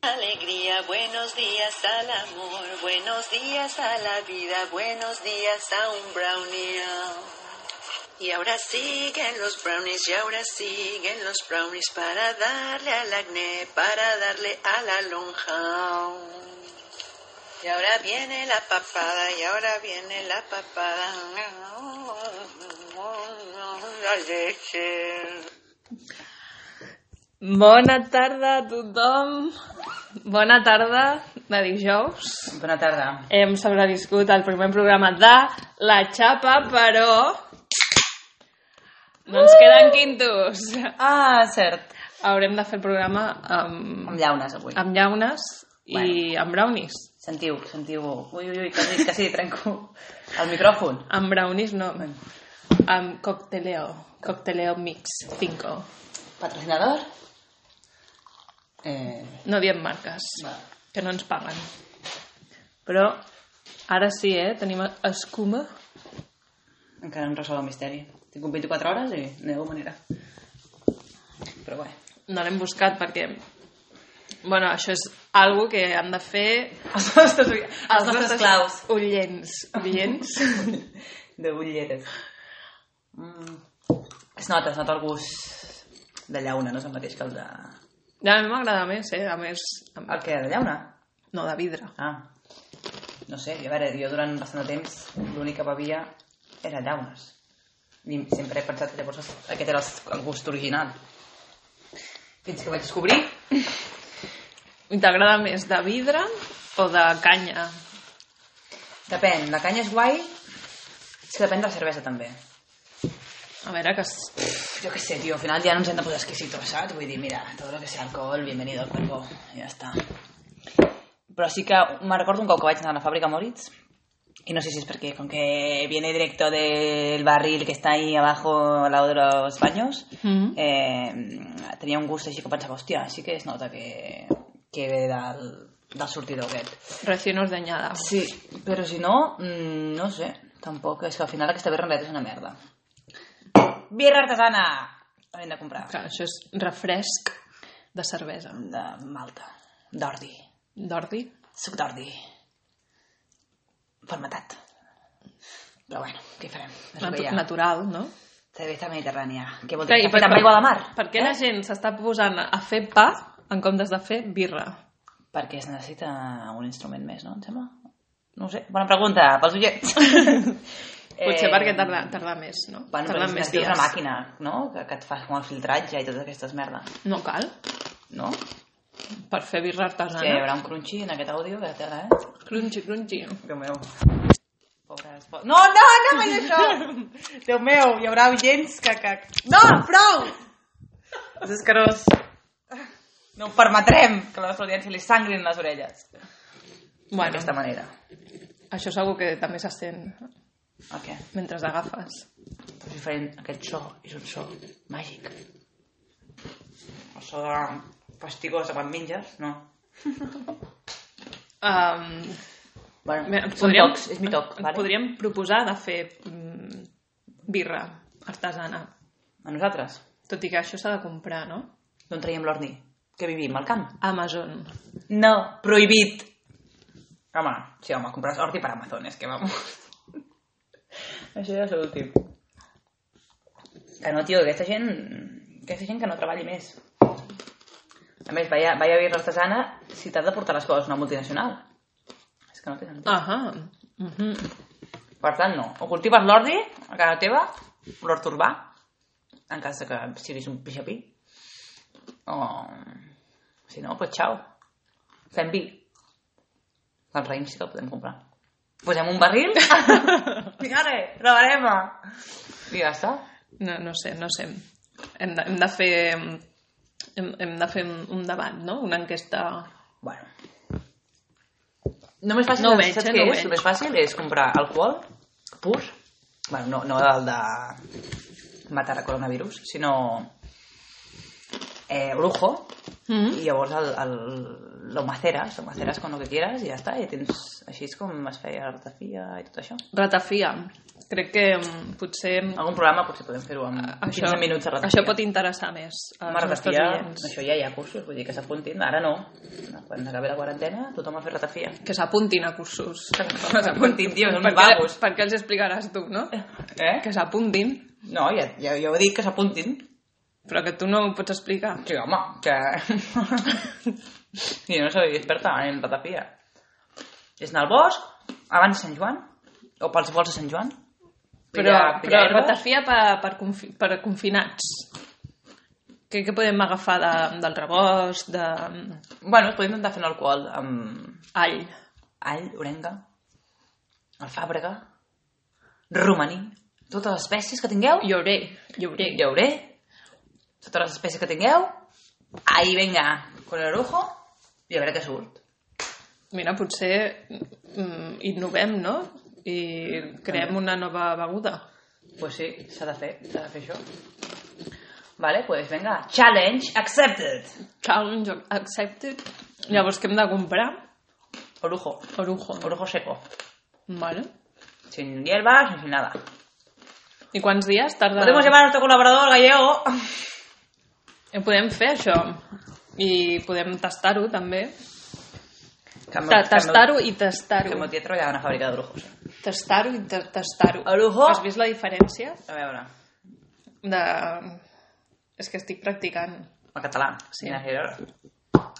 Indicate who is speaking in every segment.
Speaker 1: alegría, buenos días al amor, buenos días a la vida, buenos días a un brownie. Y ahora siguen los brownies, y ahora siguen los brownies para darle al acné, para darle a la lonja. Y ahora viene la papada, y ahora viene la papada. La leche.
Speaker 2: Bona tarda a tothom. Bona tarda de dijous.
Speaker 3: Bona tarda.
Speaker 2: Hem sobreviscut al primer programa de La Xapa, però...
Speaker 3: Uh!
Speaker 2: No ens queden quintos.
Speaker 3: Ah, cert. Ah.
Speaker 2: Haurem de fer el programa amb,
Speaker 3: Amb llaunes, avui.
Speaker 2: amb llaunes i
Speaker 3: Bueno.
Speaker 2: amb brownies.
Speaker 3: Sentiu, sentiu... Ui, ui, ui, quasi, quasi trenco el micròfon.
Speaker 2: Amb brownies no. Amb cocteleo. Cocteleo mix 5.
Speaker 3: Patrocinador? Eh...
Speaker 2: No diem marques,
Speaker 3: Va.
Speaker 2: que no ens paguen. Però ara sí, eh? Tenim escuma.
Speaker 3: Encara no resol el misteri. Tinc un 24 hores i de alguna manera. Però bé.
Speaker 2: No l'hem buscat perquè... Bueno, això és algo que han de fer
Speaker 3: Els nostres, els nostres claus.
Speaker 2: Ullens. Ullens.
Speaker 3: De ulleres. Mm. Es nota, es nota el gust de llauna, no és el mateix que el de...
Speaker 2: Ja, a mi m'agrada més, eh? A més... amb-
Speaker 3: El que de llauna?
Speaker 2: No, de vidre.
Speaker 3: Ah, no sé, a veure, jo durant bastant de temps l'únic que bevia era llaunes. I sempre he pensat que llavors aquest era el- el gust original. Fins que vaig descobrir...
Speaker 2: I t'agrada més de vidre o de canya?
Speaker 3: Depèn, la canya és guai, és que depèn de la cervesa també.
Speaker 2: A veure, que... s-
Speaker 3: Jo què sé, tio, al final ja no pues, ens hem de posar exquisitos, saps? Vull dir, mira, tot el que sea alcohol, bienvenido al cuerpo, i ja està. Però sí que me recordo un cop que vaig anar a la fàbrica Moritz, Y no sé si es porque con que viene directo del barril que está ahí abajo al lado de los baños,
Speaker 2: Mhm.
Speaker 3: eh, tenia un gust així que pensava, hòstia, sí que es nota que, que ve del, del sortidor aquest.
Speaker 2: Recién ordeñada.
Speaker 3: Sí, però si no, mm, no sé, tampoc. És que al final aquesta birra en realitat és una merda. Birra artesana! Hem de comprar.
Speaker 2: Clar, això és refresc de cervesa.
Speaker 3: De malta, d'ordi,
Speaker 2: D'ordi.
Speaker 3: suc d'ordi, formatat. Però bueno, què farem? És el que
Speaker 2: Natu
Speaker 3: hi ha.
Speaker 2: natural, no?
Speaker 3: Cervesa mediterrània. Què vol dir?
Speaker 2: Clar, i
Speaker 3: Està fet amb aigua de mar? Eh?
Speaker 2: Per què la gent s'està posant a fer pa en comptes de fer birra?
Speaker 3: Perquè es necessita un instrument més, no? Em sembla? No ho sé. Bona pregunta, pels Eh, ullets.
Speaker 2: Potser perquè tarda, tarda més, no?
Speaker 3: Bueno,
Speaker 2: tarda
Speaker 3: però més una màquina, no? Que, que et fa com el filtratge i totes aquestes merdes,
Speaker 2: No cal,
Speaker 3: no?
Speaker 2: per fer birra
Speaker 3: Que hi
Speaker 2: artesana.
Speaker 3: haurà un crunchy en aquest àudio que té, eh?
Speaker 2: Crunchy, crunchy.
Speaker 3: Déu meu. Pobres... po- No, no, no faig això! Déu meu, hi haurà oients que... que... No, prou! És escarós. No ho permetrem que a la nostra audiència li sangrin les orelles.
Speaker 2: Bueno,
Speaker 3: D'aquesta manera.
Speaker 2: això segur que també se sent
Speaker 3: Ok.
Speaker 2: mentre agafes.
Speaker 3: És diferent. Aquest so és un so màgic. El so de fastigós de quan menges, no.
Speaker 2: Um,
Speaker 3: Bueno,
Speaker 2: mira,
Speaker 3: són
Speaker 2: podríem,
Speaker 3: tocs, és mi toc,
Speaker 2: ens
Speaker 3: vale?
Speaker 2: podríem proposar de fer mm, birra artesana.
Speaker 3: A nosaltres?
Speaker 2: Tot i que això s'ha de comprar, no?
Speaker 3: D'on traiem l'ordi? Què vivim, al camp?
Speaker 2: Amazon.
Speaker 3: No, prohibit. Home, sí, home, compres ordi per Amazon, és que vamos. Això ja és l'últim. Que no, tio, aquesta gent... Aquesta gent que no treballi més. A més, vaya, vaya birra artesana si t'has de portar les coses a una multinacional. És que no té sentit.
Speaker 2: Ahà. Mm -hmm.
Speaker 3: Per tant, no. O cultives l'ordi a casa teva, l'hort urbà, en cas de que siguis un pixapí, o... Si no, pues xau. Fem vi. El raïm sí que el podem comprar. Posem un barril. Fingare, trobarem. I ja està.
Speaker 2: No, no sé, no sé. Hem de, hem de fer... Hem, hem de fer un, un debat, no? Una enquesta...
Speaker 3: Bueno. No més fàcil,
Speaker 2: No ho
Speaker 3: saps
Speaker 2: veig, eh?
Speaker 3: què
Speaker 2: No ho
Speaker 3: és?
Speaker 2: veig.
Speaker 3: El més fàcil és comprar alcohol pur, bueno, no, no el de matar el coronavirus, sinó eh, brujo,
Speaker 2: Mm.
Speaker 3: i llavors el, el, lo maceres, lo maceres con lo que quieras i ja està, i tens, així és com es feia la ratafia i tot això.
Speaker 2: Ratafia. Crec que mm, potser...
Speaker 3: Algun programa potser podem fer-ho amb 15 minuts de ratafia.
Speaker 2: Ah, això pot interessar més als
Speaker 3: Home,
Speaker 2: nostres
Speaker 3: ratafia,
Speaker 2: oients.
Speaker 3: això ja hi ha cursos, vull dir que s'apuntin, ara no. Quan acabi la quarantena, tothom a fer ratafia.
Speaker 2: Que s'apuntin a cursos.
Speaker 3: No s'apuntin, tio, són
Speaker 2: Per
Speaker 3: uns
Speaker 2: què-
Speaker 3: vagos.
Speaker 2: Per què els explicaràs tu, no?
Speaker 3: Eh?
Speaker 2: Que s'apuntin,
Speaker 3: No, ja, ja, ja ho he dit, que s'apuntin.
Speaker 2: però que tu no ho pots explicar.
Speaker 3: Sí, home, que... I no soy experta en ratafia. És anar al bosc, abans de Sant Joan, o pels vols de Sant Joan.
Speaker 2: Però,
Speaker 3: Pillar-
Speaker 2: però
Speaker 3: pillar herbes.
Speaker 2: ratafia per, per, confi per confinats. Què, què podem agafar de, del rebost, de
Speaker 3: Bueno, es pot intentar fer un alcohol amb
Speaker 2: all?
Speaker 3: all, orenga, alfàbrega, romaní, totes les espècies que tingueu.
Speaker 2: Lloré, lloré.
Speaker 3: Hi hauré totes les espècies que tingueu. Ahí, venga, con el ojo i a veure què surt.
Speaker 2: Mira, potser mm, innovem, no? I creem una nova beguda.
Speaker 3: Pues sí, s'ha de fer, s'ha de fer això. Vale, pues venga, challenge accepted.
Speaker 2: Challenge accepted. Llavors, què hem de comprar?
Speaker 3: Orujo,
Speaker 2: Orujo.
Speaker 3: orujo seco.
Speaker 2: Vale.
Speaker 3: Sin hierbas, sin nada.
Speaker 2: I quants dies tarda...
Speaker 3: Podemos llevar a nuestro colaborador gallego.
Speaker 2: Eh, Podem fer això. I podem tastar-ho, també. Ta-
Speaker 3: Tastar
Speaker 2: Tastar-ho i
Speaker 3: Que
Speaker 2: tastar-ho.
Speaker 3: m'ho teatro hi ha una fàbrica d'orujos.
Speaker 2: Tastar-ho i ta- tastar-ho.
Speaker 3: Orujo.
Speaker 2: Has vist la diferència?
Speaker 3: A veure,
Speaker 2: De... És que estic practicant.
Speaker 3: en català.
Speaker 2: Sí.
Speaker 3: Sí.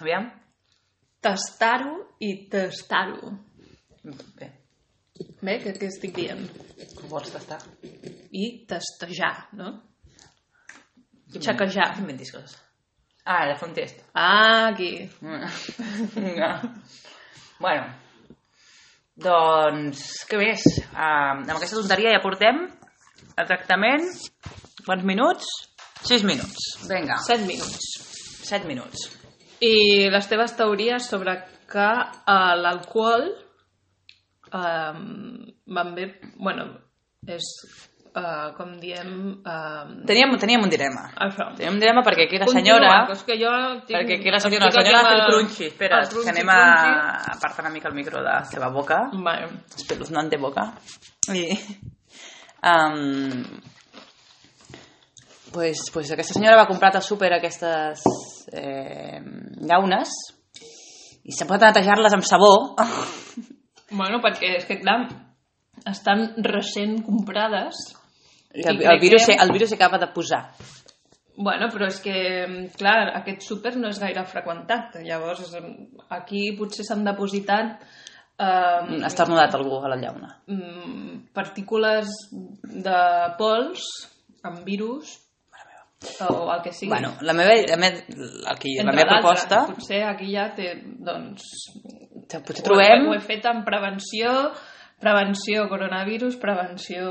Speaker 3: Aviam.
Speaker 2: Tastar-ho i tastar-ho.
Speaker 3: Bé,
Speaker 2: Bé, què, què estic dient?
Speaker 3: ho vols tastar?
Speaker 2: I tastejar, no? Xaquejar.
Speaker 3: Quin ben discos. Ah, era fer un test.
Speaker 2: Ah, aquí. Mm.
Speaker 3: bueno, doncs, què més? Uh, amb aquesta tonteria ja portem el tractament. Quants minuts? 6 minuts. Vinga. 7,
Speaker 2: Set minuts.
Speaker 3: 7 minuts.
Speaker 2: I les teves teories sobre que eh, l'alcohol eh, van bé... Bueno, és eh, com diem... Eh,
Speaker 3: Teníem, teníem un dilema.
Speaker 2: això.
Speaker 3: Teníem un dilema perquè aquí la
Speaker 2: Continua,
Speaker 3: senyora...
Speaker 2: que és que jo tinc,
Speaker 3: Perquè aquí la senyora, la
Speaker 2: estic
Speaker 3: senyora ha
Speaker 2: amb
Speaker 3: fet
Speaker 2: el-
Speaker 3: crunchi. Espera,
Speaker 2: el crunchi,
Speaker 3: que anem a... Aparta una mica el micro de la seva boca.
Speaker 2: crunchi. Vale.
Speaker 3: espeluznante boca. I, um, pues, pues aquesta senyora va comprar al súper aquestes eh, llaunes i s'ha posat a netejar-les amb sabó.
Speaker 2: Bueno, perquè és que, clar, estan recent comprades. I
Speaker 3: I el,
Speaker 2: crec
Speaker 3: el, virus,
Speaker 2: que-
Speaker 3: se- el virus s'acaba de posar.
Speaker 2: Bueno, però és que, clar, aquest súper no és gaire freqüentat. Llavors, aquí potser s'han depositat eh,
Speaker 3: mm, Ha estornudat algú a la llauna.
Speaker 2: mm, partícules de pols amb virus o el que sigui.
Speaker 3: Bueno, la meva, la me, el que, la
Speaker 2: Entre
Speaker 3: meva
Speaker 2: d'altres,
Speaker 3: proposta...
Speaker 2: Potser aquí ja té, doncs...
Speaker 3: Potser
Speaker 2: Ho he,
Speaker 3: trobem
Speaker 2: ho he fet amb prevenció, prevenció coronavirus, prevenció...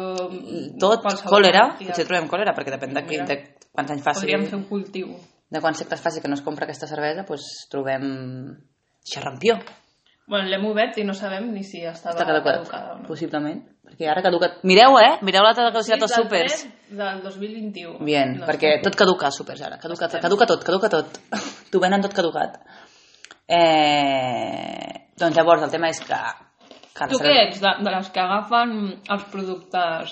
Speaker 3: tot
Speaker 2: qualsevol
Speaker 3: còlera.
Speaker 2: malaltia.
Speaker 3: Potser trobem còlera, perquè depèn de, qui,
Speaker 2: Mira.
Speaker 3: de quants anys faci.
Speaker 2: Podríem fer un cultiu.
Speaker 3: de quants segles faci que no es compra aquesta cervesa, doncs trobem xerrampió.
Speaker 2: Bueno, l'hem obert i no sabem ni si estava
Speaker 3: Està caducat,
Speaker 2: caducada o no.
Speaker 3: possiblement. Perquè ara caduca... Mireu, eh? Mireu la data de caducitat als
Speaker 2: del
Speaker 3: súpers.
Speaker 2: 3 Del 2021.
Speaker 3: Bien,
Speaker 2: No,
Speaker 3: perquè tot caduca als súpers ara. Caduca,
Speaker 2: Estem.
Speaker 3: caduca tot, caduca tot. T'ho venen tot caducat. Eh... Doncs llavors, el tema és que... que la
Speaker 2: Tu què
Speaker 3: cervesa-
Speaker 2: ets? De, de les que agafen els productes...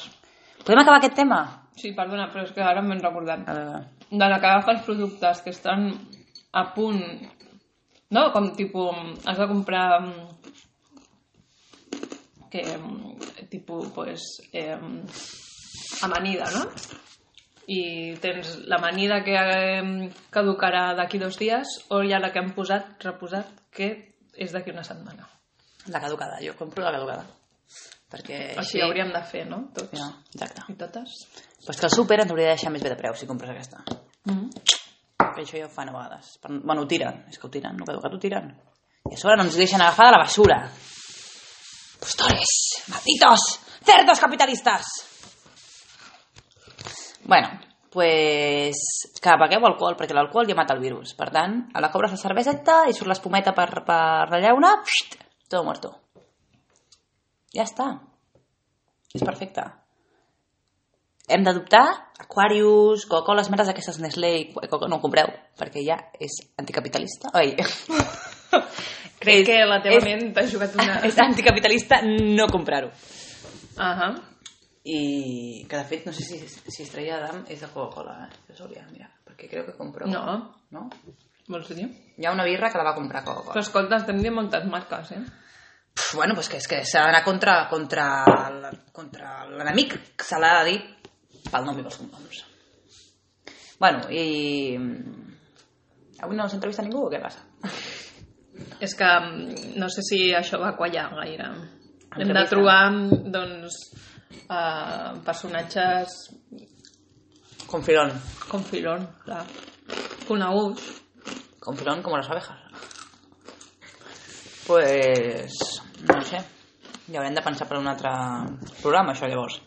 Speaker 3: Podem acabar aquest tema?
Speaker 2: Sí, perdona, però és que ara m'he recordat.
Speaker 3: A veure...
Speaker 2: de la que agafa els productes que estan a punt no? com tipus has de comprar mm, que mm, tipus pues, eh, amanida no? i tens l'amanida que eh, caducarà d'aquí dos dies o ja la que han posat, reposat que és d'aquí una setmana
Speaker 3: La caducada, jo compro la caducada. Perquè
Speaker 2: així ho hauríem de fer, no? Tots
Speaker 3: Eh, Ja, exacte.
Speaker 2: i totes
Speaker 3: Però és que el súper ens hauria de deixar més bé de preu si compres aquesta.
Speaker 2: mm.
Speaker 3: Però això ja ho fan a vegades. Però, bueno, ho tiren. És que ho tiren, no caducat ho tiren. I a sobre no ens deixen agafar de la basura. Postores! Malditos! Cerdos capitalistes! Bueno, pues que begueu alcohol, perquè l'alcohol ja mata el virus. Per tant, a la cobres la cerveseta i surt l'espumeta per, per la llauna, pxt, todo muerto. Ja està. És perfecte. hem d'adoptar Aquarius, Coca-Cola, les merdes aquestes Nestlé i Coca-Cola. No ho compreu, perquè ja és anticapitalista. Oi,
Speaker 2: Crec
Speaker 3: És-
Speaker 2: que la teva
Speaker 3: és-
Speaker 2: ment t'ha jugat una...
Speaker 3: és anticapitalista no comprar-ho.
Speaker 2: Ahà.
Speaker 3: I que, de fet, no sé si, si Estrella d'Am és de Coca-Cola, eh? Jo s'hauria de mirar, perquè crec que compro...
Speaker 2: No,
Speaker 3: No?
Speaker 2: vols dir?
Speaker 3: Hi ha una birra que la va comprar Coca-Cola.
Speaker 2: Però escolta, estem dient moltes marques, eh?
Speaker 3: Pff, bueno, pues que és que s'ha d'anar contra, contra, el- contra l'enemic, que se l'ha de dir pel nom i pels cognoms. Bueno, mm, i... Avui no s'entrevista ningú o què passa?
Speaker 2: És que mm, no sé si això va quallar gaire. Hem de
Speaker 3: Entrevista.
Speaker 2: trobar, mm, doncs, uh, personatges
Speaker 3: Con filón.
Speaker 2: com Filon, clar. Coneguts.
Speaker 3: Con filón como las abejas. Pues... No sé. Ja haurem de pensar per un altre programa, això, llavors.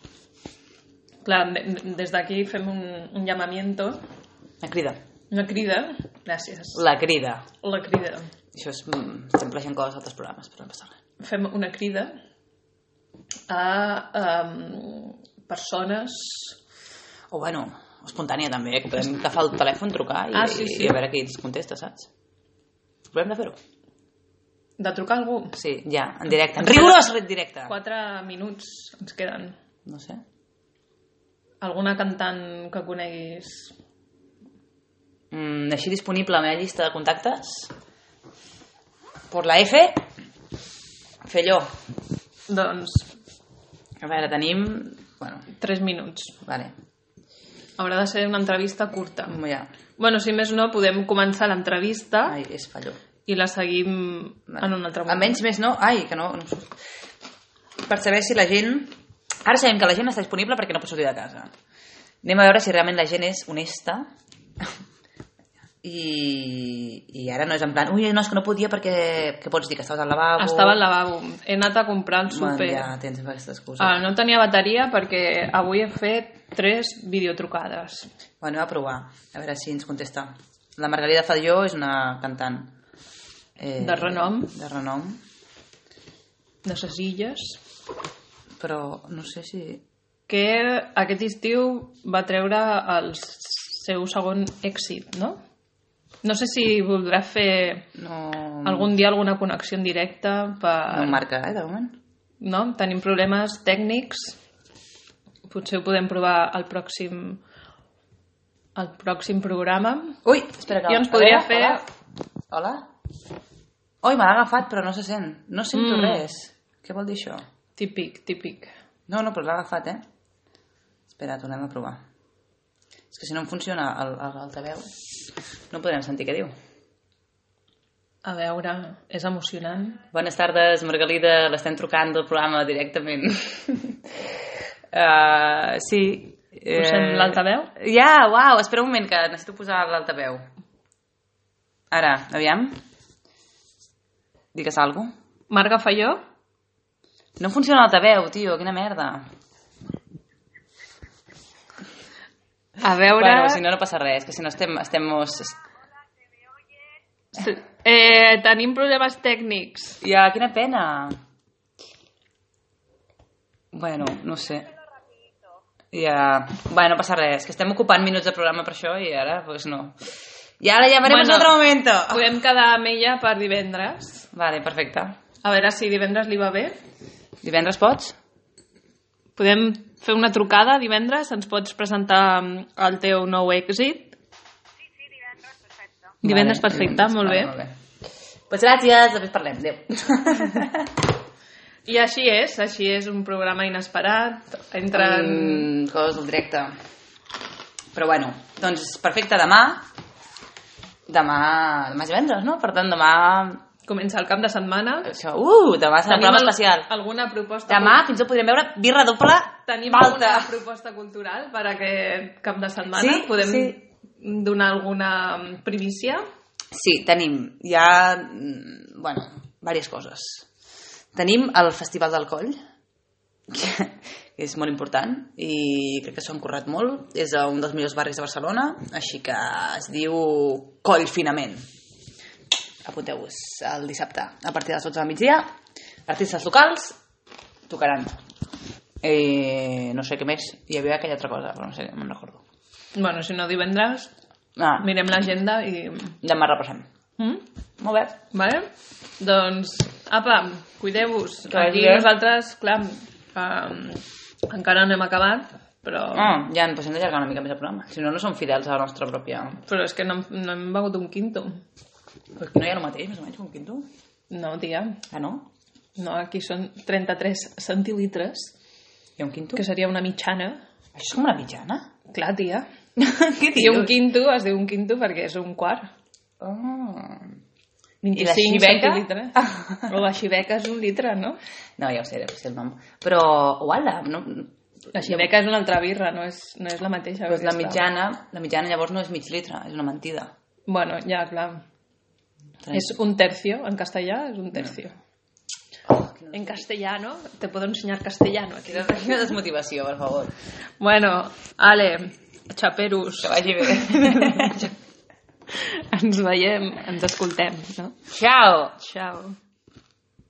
Speaker 2: Clar, de- de- des d'aquí fem un, un llamamiento,
Speaker 3: La crida.
Speaker 2: una crida, gràcies,
Speaker 3: La crida.
Speaker 2: la crida.
Speaker 3: Això és... Mm, S'empleixen coses d'altres programes, però no passa res.
Speaker 2: Fem una crida a um, persones...
Speaker 3: O bueno, espontània també, eh? que podem agafar el telèfon, trucar i,
Speaker 2: Ah, sí, sí.
Speaker 3: i a veure qui ens contesta, saps? Podem de fer-ho?
Speaker 2: De trucar a algú.
Speaker 3: Sí, ja,
Speaker 2: Mm.
Speaker 3: en directe. En rigorós en directe.
Speaker 2: Quatre minuts ens queden.
Speaker 3: No sé.
Speaker 2: Alguna cantant que coneguis?
Speaker 3: Mm, així disponible a la meva llista de contactes. Por la F, Felló.
Speaker 2: Doncs
Speaker 3: A veure, tenim... Bueno,
Speaker 2: tres minuts.
Speaker 3: vale.
Speaker 2: Haurà de ser una entrevista curta.
Speaker 3: Ja.
Speaker 2: Bueno, si més no, podem començar l'entrevista
Speaker 3: Mm. Ai, és Felló.
Speaker 2: i la seguim
Speaker 3: Vale.
Speaker 2: en un altre moment.
Speaker 3: Almenys més no... Ai, que no... no em surt. Per saber si la gent... Ara sabem que la gent està disponible perquè no pot sortir de casa. Anem a veure si realment la gent és honesta i, i ara no és en plan ui, no, és que no podia perquè què pots dir que estaves al lavabo
Speaker 2: Estava al lavabo. He anat a comprar el
Speaker 3: Bueno,
Speaker 2: súper.
Speaker 3: ja tens aquesta excusa
Speaker 2: Ah, no tenia bateria perquè avui he fet tres videotrucades.
Speaker 3: Bueno, anem a provar, a veure si ens contesta. La Margarida Fadió és una cantant. Eh,
Speaker 2: De renom.
Speaker 3: De renom,
Speaker 2: de ses illes,
Speaker 3: però no sé si...
Speaker 2: que aquest estiu va treure el seu segon èxit, no? No sé si voldrà fer
Speaker 3: No,
Speaker 2: algun dia alguna connexió en directe per...
Speaker 3: no marca, eh, de moment.
Speaker 2: No? Tenim problemes tècnics. Potser ho podem provar al pròxim al pròxim programa.
Speaker 3: Ui, espera que...
Speaker 2: I ens
Speaker 3: a
Speaker 2: podria
Speaker 3: veure,
Speaker 2: fer...
Speaker 3: Hola? hola? Ui, me l'ha agafat, però no se sent. No sento
Speaker 2: Mm.
Speaker 3: res. Què vol dir això?
Speaker 2: Típic, típic.
Speaker 3: No, no, però l'ha agafat, eh? Espera, tornem a provar. És que si no em funciona el- el- l'altaveu, no podrem sentir què diu.
Speaker 2: A veure, és emocionant.
Speaker 3: Bones tardes, Margalida. L'estem trucant del programa directament. uh, sí.
Speaker 2: Posem l'altaveu?
Speaker 3: Ja, uau, espera un moment, que necessito posar l'altaveu. Ara, aviam. Digues alguna cosa.
Speaker 2: Marga Falló?
Speaker 3: No funciona l'altaveu, tio, quina merda.
Speaker 2: A veure...
Speaker 3: Bueno, si no, no passa res, que si no estem... estem mos-
Speaker 2: Sí. Eh, tenim problemes tècnics.
Speaker 3: Ja, quina pena. Bueno, no sé. Ja, bueno, passa res, que estem ocupant minuts de programa per això i ara, pues no. I ara llamarem
Speaker 2: Bueno.
Speaker 3: bueno, en otro momento.
Speaker 2: Podem quedar amb ella per divendres.
Speaker 3: Vale, perfecte.
Speaker 2: A veure si divendres li va bé.
Speaker 3: Divendres pots?
Speaker 2: Podem fer una trucada divendres, ens pots presentar mm, el teu nou èxit. Divendres perfecte, molt bé.
Speaker 3: Vale, molt bé. Pues gràcies, després parlem. Adéu.
Speaker 2: I així és, així és un programa inesperat. Entren...
Speaker 3: Mm, coses del directe. Però bueno, doncs perfecte, demà... Demà... Demà és divendres, no? Per tant, demà...
Speaker 2: Comença el cap de setmana.
Speaker 3: Això, uh, demà serà un programa
Speaker 2: al-
Speaker 3: especial.
Speaker 2: alguna proposta...
Speaker 3: Demà fins i tot podrem veure birra doble
Speaker 2: Tenim
Speaker 3: Malta.
Speaker 2: alguna proposta cultural per aquest cap de setmana?
Speaker 3: Sí,
Speaker 2: Podem
Speaker 3: sí.
Speaker 2: donar alguna mm, primícia?
Speaker 3: Sí, tenim. Hi ha, mm, bueno, diverses coses. Tenim el Festival del Coll, que que és molt important i crec que s'ho han currat molt. És a un dels millors barris de Barcelona, així que es diu Coll Finament. Apunteu-vos el dissabte a partir de les 12 del migdia. Artistes locals tocaran. Eh, no sé què més. Hi havia aquella altra cosa, però no sé, no me'n recordo.
Speaker 2: Bueno, si no divendres,
Speaker 3: Ah,
Speaker 2: mirem l'agenda i...
Speaker 3: demà repassem.
Speaker 2: Mm?
Speaker 3: Molt bé.
Speaker 2: Vale? Doncs, apa, cuideu-vos.
Speaker 3: Que vagi
Speaker 2: Aquí
Speaker 3: bé.
Speaker 2: nosaltres, clar, um, encara no hem acabat, però...
Speaker 3: Ah, ja ens hem d'allargar una mica més el programa. Si no, no som fidels a la nostra pròpia...
Speaker 2: Però és que no, hem- no hem begut un quinto.
Speaker 3: Però no hi ha el mateix, més o menys, com quinto?
Speaker 2: No, tia.
Speaker 3: Ah, no?
Speaker 2: No, aquí són 33 centilitres,
Speaker 3: Hi ha un quinto?
Speaker 2: que seria una mitjana.
Speaker 3: Això és com una mitjana?
Speaker 2: Clar, tia.
Speaker 3: Què
Speaker 2: I un quinto es diu un quinto perquè és un quart.
Speaker 3: Ah. I la
Speaker 2: 25
Speaker 3: xiveca? Ah.
Speaker 2: centilitres. O la xiveca és un litre, no?
Speaker 3: No, ja ho sé, ja ho sé el nom. Però, uala, no,
Speaker 2: La xiveca és una altra birra, no és, no és la mateixa.
Speaker 3: doncs
Speaker 2: ja
Speaker 3: la
Speaker 2: està.
Speaker 3: mitjana, la mitjana llavors no és mig litre, és una mentida.
Speaker 2: Bueno, ja, clar. És un tercio, en castellà és un tercio.
Speaker 3: Oh,
Speaker 2: En castellano, te puedo enseñar castellano aquí.
Speaker 3: Quina desmotivació, per favor.
Speaker 2: Bueno, Ale, xaperos,
Speaker 3: Que vagi bé.
Speaker 2: ens veiem, ens escoltem, no?
Speaker 3: Ciao!
Speaker 2: Ciao.